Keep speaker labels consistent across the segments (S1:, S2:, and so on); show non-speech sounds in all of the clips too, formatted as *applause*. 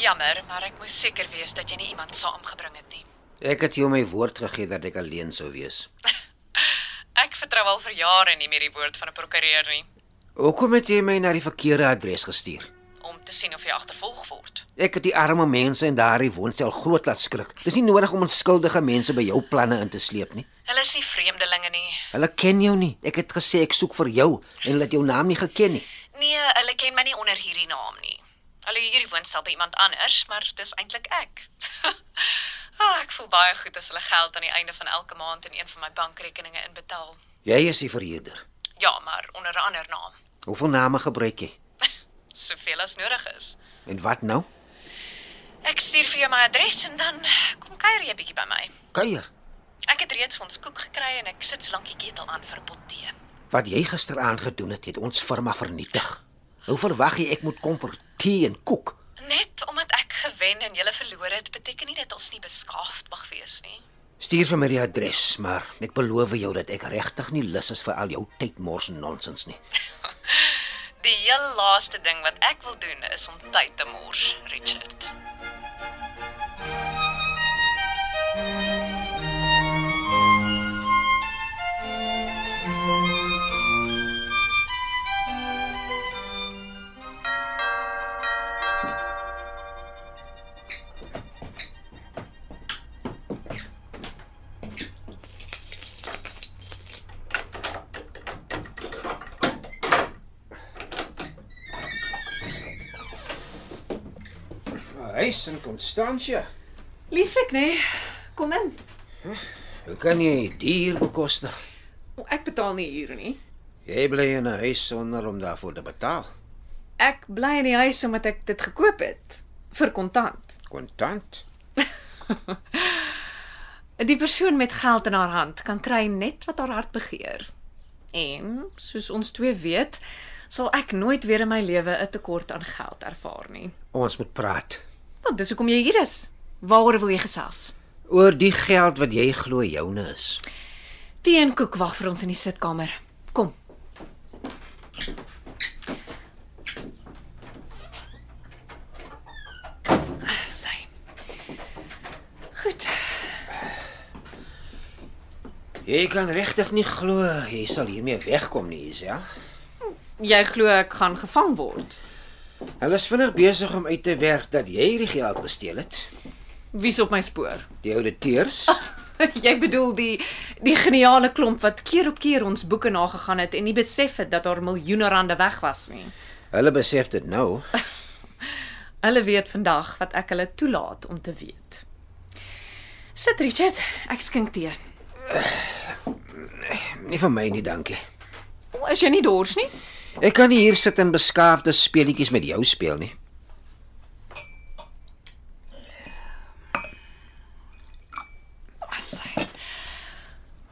S1: Jammer, maar ek moes seker wees dat jy nie iemand saamgebring het nie.
S2: Ek het jou my woord gegee dat ek alleen sou wees.
S1: Ek vertrou al vir jare nie meer die woord van 'n prokureur nie
S2: Hoekom het jy my na die verkeerde adres gestuur?
S1: om te sien of jy agtervolg word.
S2: Ek het die arme mense in daardie woonstel groot laat skrik. Dis nie nodig om onskuldige mense by jou planne in te sleep nie.
S1: Hulle is nie vreemdelinge nie.
S2: Hulle ken jou nie. Ek het gesê ek soek vir jou en hulle het jou naam nie geken nie.
S1: Nee, hulle ken my nie onder hierdie naam nie. Hulle hierdie woonstel by iemand anders, maar dis eintlik ek. *laughs* ah, ek voel baie goed as hulle geld aan die einde van elke maand in een van my bankrekeninge inbetaal.
S2: Jy is die verhuurder.
S1: Ja, maar onder 'n ander naam, *laughs*
S2: Hoeveel name gebruik jy?
S1: soveel as nodig is.
S2: En wat nou?
S1: Ek stuur vir jou my adres en dan kom kuier jy 'n bietjie by my.
S2: Kuier.
S1: Ek het reeds ons koek gekry en ek sit solank die ketel aan vir 'n pot tee.
S2: Wat jy gisteraand gedoen het, het ons firma vernietig. Hoe verwag jy ek moet kom vir tee en koek?
S1: Net omdat ek gewen en jy verloor het, beteken nie dat ons nie beskaafd mag wees nie.
S2: Stuur vir my die adres, maar ek beloof jou dat ek regtig nie lus is vir al jou tydmors nonsens nie.
S1: Die heel laaste ding wat ek wil doen is om tyd te mors, Richard.
S2: Nou, Huis in Constantia.
S1: Lieflik, nê? Kom in.
S2: Hoe kan jy duur bekostig?
S1: Ek betaal nie huur nie.
S2: Jy bly in 'n huis sonder om daarvoor te betaal.
S1: Ek bly in die huis omdat ek dit gekoop het vir kontant.
S2: Kontant.
S1: Die persoon met geld in haar hand kan kry net wat haar hart begeer. En soos ons twee weet, sal ek nooit weer in my lewe 'n tekort aan geld ervaar nie.
S2: Ons moet praat
S1: Want dis hoekom jy hier is. Waaroor wil jy gesels?
S2: oor die geld wat jy glo joune is.
S1: Tee en koek wag vir ons in die sitkamer. Kom. Ah, Sy. Goed.
S2: Jy kan regtig nie glo jy sal hiermee wegkom nie, ja? Isel.
S1: Jy glo ek gaan gevang word.
S2: Hulle is vinnig besig om uit te werk dat jy hierdie geld gesteel het.
S1: Wie's op my spoor?
S2: Die ouditeurs.
S1: *laughs* jy bedoel die die geniale klomp wat keer op keer ons boeke nagegaan het en nie besef het dat daar miljoene rande weg was nie.
S2: Hulle besef dit nou.
S1: Hulle weet vandag wat ek hulle toelaat om te weet. Sit Richard, ek skink tee.
S2: Nie vir my nie, dankie.
S1: O, is jy nie dors nie?
S2: Ek kan nie hier sit en beskaafde speletjies met jou speel nie.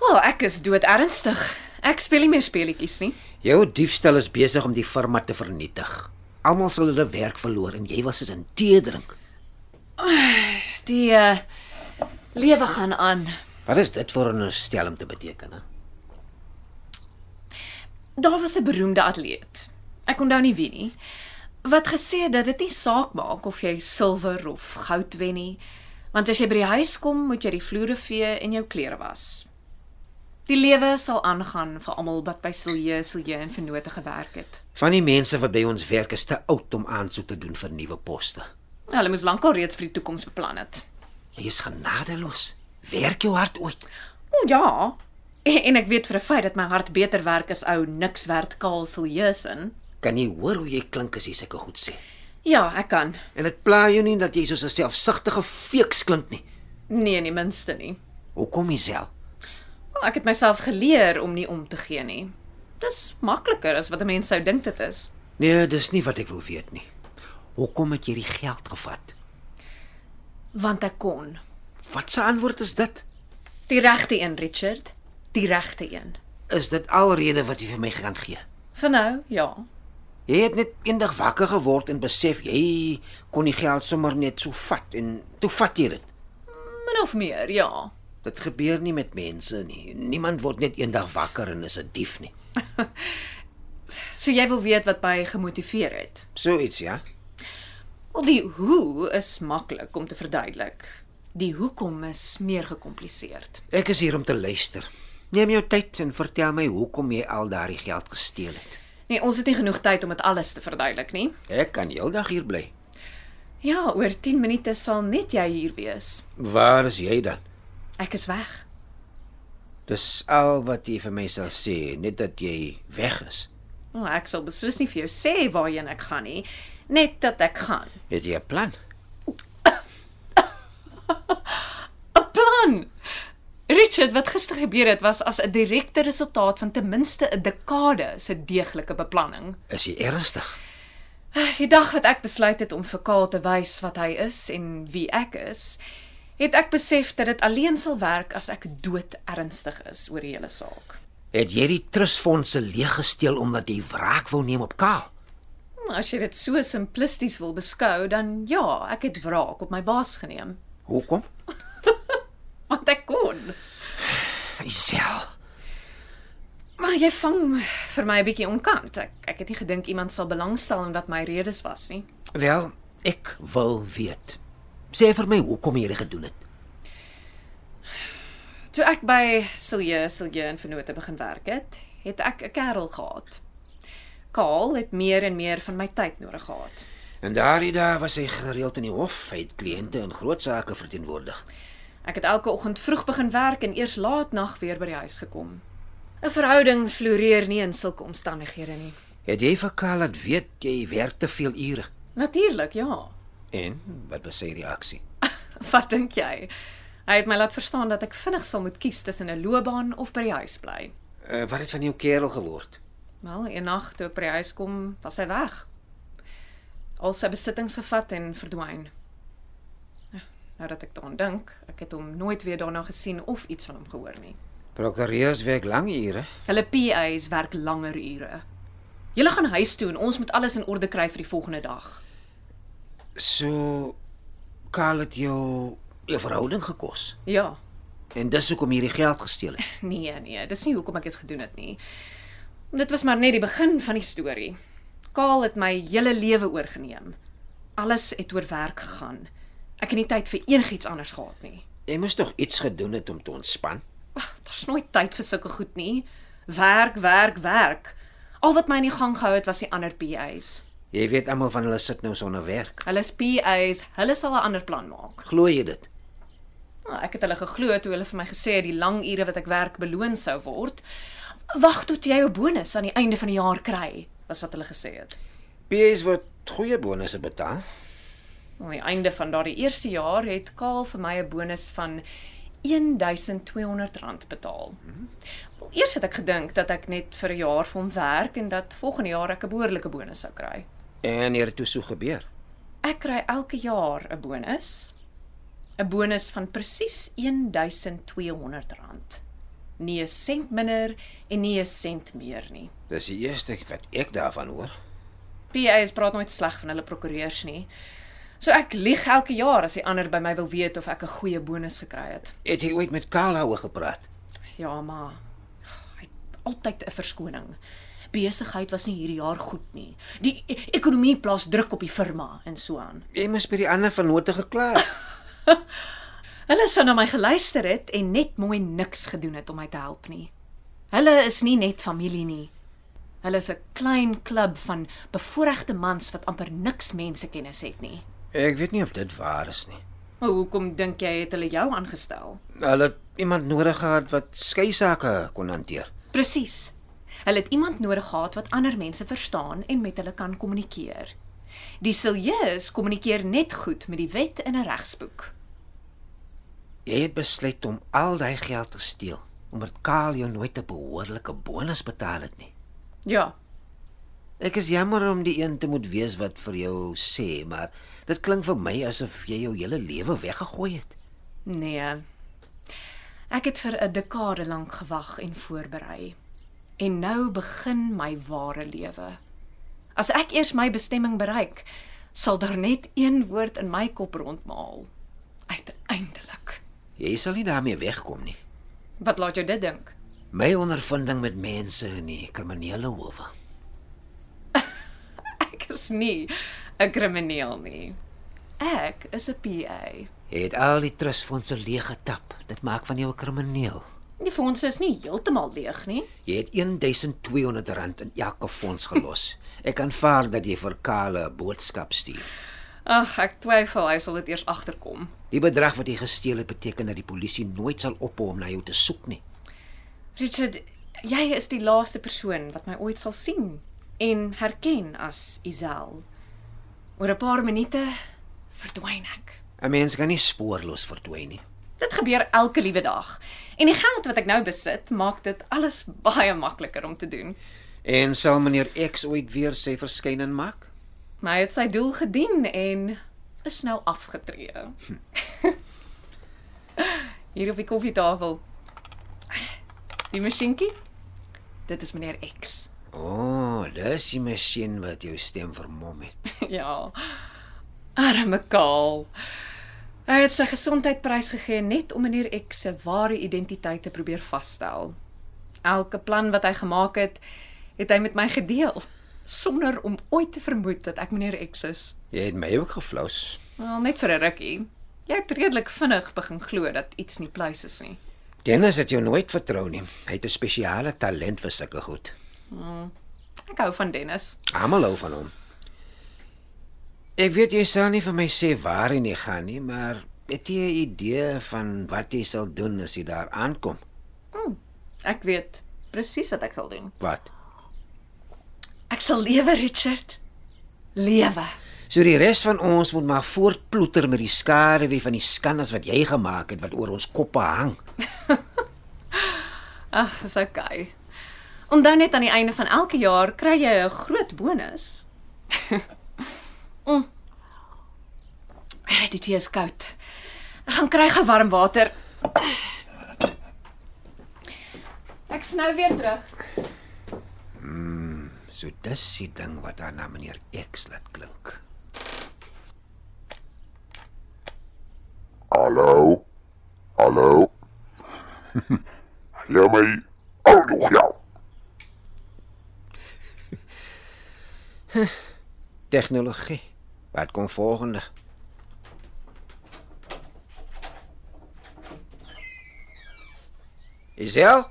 S1: Wel, ek is dood ernstig. Ek speel nie meer speletjies nie.
S2: Jou diefstal is besig om die firma te vernietig. Almal sal hulle werk verloor en jy wil sit en tee drink.
S1: Die uh, lewe gaan aan.
S2: Wat is dit vir 'n stel om te beteken, hè?
S1: Daar was 'n beroemde atleet. Ek onthou nie wie nie. Wat gesê het dat dit nie saak maak of jy silwer of goud wen nie, want as jy by die huis kom, moet jy die vloere vee en jou klere was. Die lewe sal aangaan vir almal wat by Silje, Silje en vennote gewerk het.
S2: Van die mense wat by ons werk is te oud om aansoek te doen vir nuwe poste.
S1: Hulle moes lankal reeds vir die toekoms beplan het.
S2: Jy is genadeloos. Werk jou hard ooit.
S1: O ja. En, en ek weet vir 'n feit dat my hart beter werk as ou niks werd kaal Siljesin.
S2: Kan jy hoor hoe jy klink as jy sulke goed sê?
S1: Ja, ek kan.
S2: En dit pla jou nie dat jy so 'n selfsugtige feeks klink nie.
S1: Nee, nie minste nie.
S2: Hoekom jouself?
S1: Wel, ek het myself geleer om nie om te gee nie. Dis makliker as wat 'n mens sou dink dit is.
S2: Nee, dis nie wat ek wil weet nie. Hoekom het jy die geld gevat?
S1: want ek kon.
S2: Wat se antwoord is dit?
S1: Die regte een, Richard, die regte een.
S2: Is dit alrede wat jy vir my gaan gee?
S1: Vir nou, ja.
S2: Jy het net eendag wakker geword en besef jy kon die geld sommer net so vat en toe vat jy dit.
S1: Min of meer, ja.
S2: Dit gebeur nie met mense nie. Niemand word net eendag wakker en is 'n dief nie.
S1: So jy wil weet wat my gemotiveer het.
S2: So iets ja.
S1: Wel die hoe is maklik om te verduidelik. Die hoekom is meer gekompliseerd.
S2: Ek is hier om te luister. Neem jou tyd en vertel my hoekom jy al daardie geld gesteel het.
S1: Nee, ons het nie genoeg tyd om dit alles te verduidelik nie.
S2: Ek kan heeldag hier bly.
S1: Ja, oor 10 minute sal net jy hier wees.
S2: Waar is jy dan?
S1: Ek is weg.
S2: Dis al wat jy vir my sal sê, net dat jy weg is.
S1: Nou, ek sal beslis nie vir jou sê waarheen ek gaan nie, net dat ek gaan.
S2: Het jy 'n plan?
S1: 'n Plan. Richard, wat gister gebeur het was as 'n direkte resultaat van ten minste 'n dekade se deeglike beplanning.
S2: Is jy ernstig?
S1: Die dag wat ek besluit het om vir Kaal te wys wat hy is en wie ek is, het ek besef dat dit alleen sal werk as ek dood ernstig is oor die hele saak.
S2: Het jy die trustfondse leeg gesteel omdat jy wraak wou neem op Kaal?
S1: Hm, As jy dit so simplisties wil beskou, dan ja, ek het wraak op my baas geneem,
S2: Hoekom?
S1: want ek kon.
S2: Isel.
S1: Maar jy vang vir my 'n bietjie onkant. Ek ek het nie gedink iemand sal belangstel in wat my redes was nie.
S2: Wel, ek wil weet. Sê vir my hoekom jy dit gedoen het.
S1: Toe ek by Silje Silje in Vennote begin werk het, het ek 'n kerel gehad. Kaal het meer en meer van my tyd nodig gehad.
S2: En daardie dae was hy gereeld in die hof, hy het kliënte in groot sake verteenwoordig.
S1: Ek het elke oggend vroeg begin werk en eers laat nag weer by die huis gekom. 'n Verhouding floreer nie in sulke omstandighede nie.
S2: Het jy vir Karl laat weet jy werk te veel ure?
S1: Natuurlik, ja. *laughs*
S2: En wat was sy reaksie?
S1: Wat dink jy? Hy het my laat verstaan dat ek vinnig sal moet kies tussen 'n loopbaan of by die huis bly.
S2: Uh, wat het van jou kerel geword?
S1: Wel, eendag toe ek by die huis kom, was hy weg. Al sy besittings gevat en verdwyn. Ja, Nou dat ek daaraan dink, ek het hom nooit weer daarna gesien of iets van hom gehoor nie.
S2: Prokureurs werk lang ure.
S1: Hulle PA's werk langer ure. Julle gaan huis toe en ons moet alles in orde kry vir die volgende dag.
S2: So Karl het jou 'n verhouding gekos.
S1: Ja.
S2: En dis hoekom hierdie geld gesteel het.
S1: Nee, nee, dis nie hoekom ek dit gedoen het nie. Dit was maar net die begin van die storie. Kaal het my hele lewe oorgeneem. Alles het oor werk gegaan. Ek het nie tyd vir enigiets anders gehad nie.
S2: Jy moes tog iets gedoen het om te ontspan.
S1: Ag, daar's nooit tyd vir sulke goed nie. Werk, werk, werk. Al wat my in die gang gehou het was die ander PA's.
S2: Jy weet almal van hulle sit nou sonder werk.
S1: Hulle is PA's, hulle sal 'n ander plan maak.
S2: Glo jy dit?
S1: Nou, ek het hulle geglo toe hulle vir my gesê het die lang ure wat ek werk beloon sou word. Wag tot jy jou bonus aan die einde van die jaar kry, was wat hulle gesê het.
S2: PS word goeie bonusse betaal.
S1: Aan die einde van daardie eerste jaar het Kaal vir my 'n bonus van R1200 betaal. Wel, eers het ek gedink dat ek net vir 'n jaar vir hom werk en dat volgende jaar ek 'n behoorlike bonus sou kry.
S2: En hier toe so gebeur.
S1: Ek kry elke jaar 'n bonus. 'n Bonus van presies R1200. Nie 'n sent minder en nie 'n sent meer nie.
S2: Dis die eerste wat ek daarvan hoor.
S1: PA's praat nooit sleg van hulle prokureurs nie. So ek lieg elke jaar as die ander by my wil weet of ek 'n goeie bonus gekry het.
S2: Het jy ooit met Karl daaroor gepraat?
S1: Ja, maar hy het altyd 'n verskoning. Besigheid was nie hierdie jaar goed nie. Die e- ekonomie plaas druk op die firma en so aan.
S2: Jy moes by die ander vennote gekla het.
S1: Hulle sou na my geluister het en net mooi niks gedoen het om my te help nie. Hulle is nie net familie nie. Hulle is 'n klein klub van bevoorregte mans wat amper niks mensekennis het nie.
S2: Ek weet nie of dit waar is nie.
S1: Maar hoekom dink jy het hulle jou aangestel?
S2: Hulle het iemand nodig gehad wat skei sake kon hanteer.
S1: Presies. Hulle het iemand nodig gehad wat ander mense verstaan en met hulle kan kommunikeer. Die siljeus kommunikeer net goed met die wet en 'n regsboek.
S2: Jy het besluit om al daai geld te steel omdat Karl jou nooit 'n behoorlike bonus betaal het nie.
S1: Ja,
S2: Ek is jammer om die een te moet wees wat vir jou sê, maar dit klink vir my asof jy jou hele lewe weggegooi het.
S1: Nee. Ek het vir 'n dekade lank gewag en voorberei. En nou begin my ware lewe. As ek eers my bestemming bereik, sal daar net een woord in my kop rondmaal. Uiteindelik.
S2: Jy sal nie daarmee wegkom nie.
S1: Wat laat jou dit dink? *laughs*
S2: My ondervinding met mense in die kriminele howe.
S1: Ek is nie 'n krimineel nie. Ek is 'n PA.
S2: Jy het al die trustfondse leeg getap. Dit maak van jou 'n krimineel.
S1: Die fondse is nie heeltemal leeg nie.
S2: Jy het R1200 in elke fonds gelos. Ek aanvaar dat jy vir Kale 'n boodskap stuur.
S1: Ag, ek twyfel hy sal dit eers agterkom.
S2: Die bedrag wat jy gesteel het beteken dat die polisie nooit sal ophou om na jou te soek nie.
S1: Richard, jy is die laaste persoon wat my ooit sal sien en herken as Isel. Oor 'n paar minute verdwyn ek.
S2: 'n Mens kan nie spoorloos verdwyn nie.
S1: Dit gebeur elke liewe dag. En die geld wat ek nou besit, maak dit alles baie makliker om te doen.
S2: En sal meneer X ooit weer sy verskyning maak?
S1: Maar hy het sy doel gedien en is nou afgetree. *laughs* Hier op die koffietafel. Die masjienkie. Dit is meneer X.
S2: O, oh, dis die masjien wat jou stem vermom het.
S1: *laughs* Ja. Arme Kaal. Hy het sy gesondheid prysgegee net om meneer X se ware identiteit te probeer vasstel. Elke plan wat hy gemaak het, het hy met my gedeel sonder om ooit te vermoed dat ek meneer X is.
S2: Jy het my ook geflous.
S1: Wel, net vir 'n rukkie. Jy het redelik vinnig begin glo dat iets nie pleis is nie.
S2: Dennis het jou nooit vertrou nie. Hy het 'n spesiale talent vir sulke goed.
S1: Ek hou van Dennis.
S2: Almal hou van hom. Ek weet jy sal nie vir my sê waarheen jy gaan nie, maar het jy 'n idee van wat jy sal doen as jy daar aankom?
S1: Ek weet presies wat ek sal doen.
S2: Wat?
S1: Ek sal lewe, Richard. Lewe.
S2: So die res van ons moet maar voortploeter met die skaduwee van die skandas wat jy gemaak het wat oor ons koppe hang.
S1: Ag, dis okay. Onthou net aan die einde van elke jaar kry jy 'n groot bonus. *laughs* mm. Ah, Die tee is koud. Ek gaan kry gewarm water. Ek snou weer terug.
S2: So dis die ding wat aan na meneer X laat klink.
S3: Hallo? Hallo? *laughs* ja, my ou nog jou.
S2: Tegnologie. Wat kom volgende? Isel?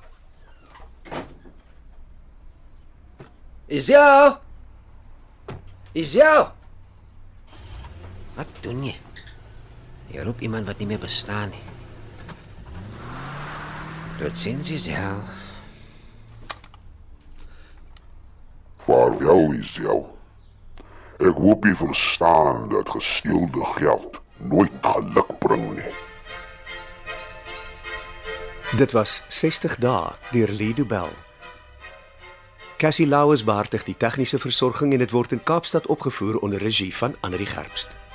S2: Isel? Isel? Wat doen jy? Jy roep iemand wat nie meer bestaan nie. Tot sins Isel.
S3: Vaarwel, Isel. Ek hoop jy verstaan dat gesteelde geld nooit geluk bring nie.
S4: Dit was 60 dae deur Lido Bell. Cassie Lauers beheer tig die tegniese versorging en dit word in Kaapstad opgevoer onder regie van Anri Gerbst.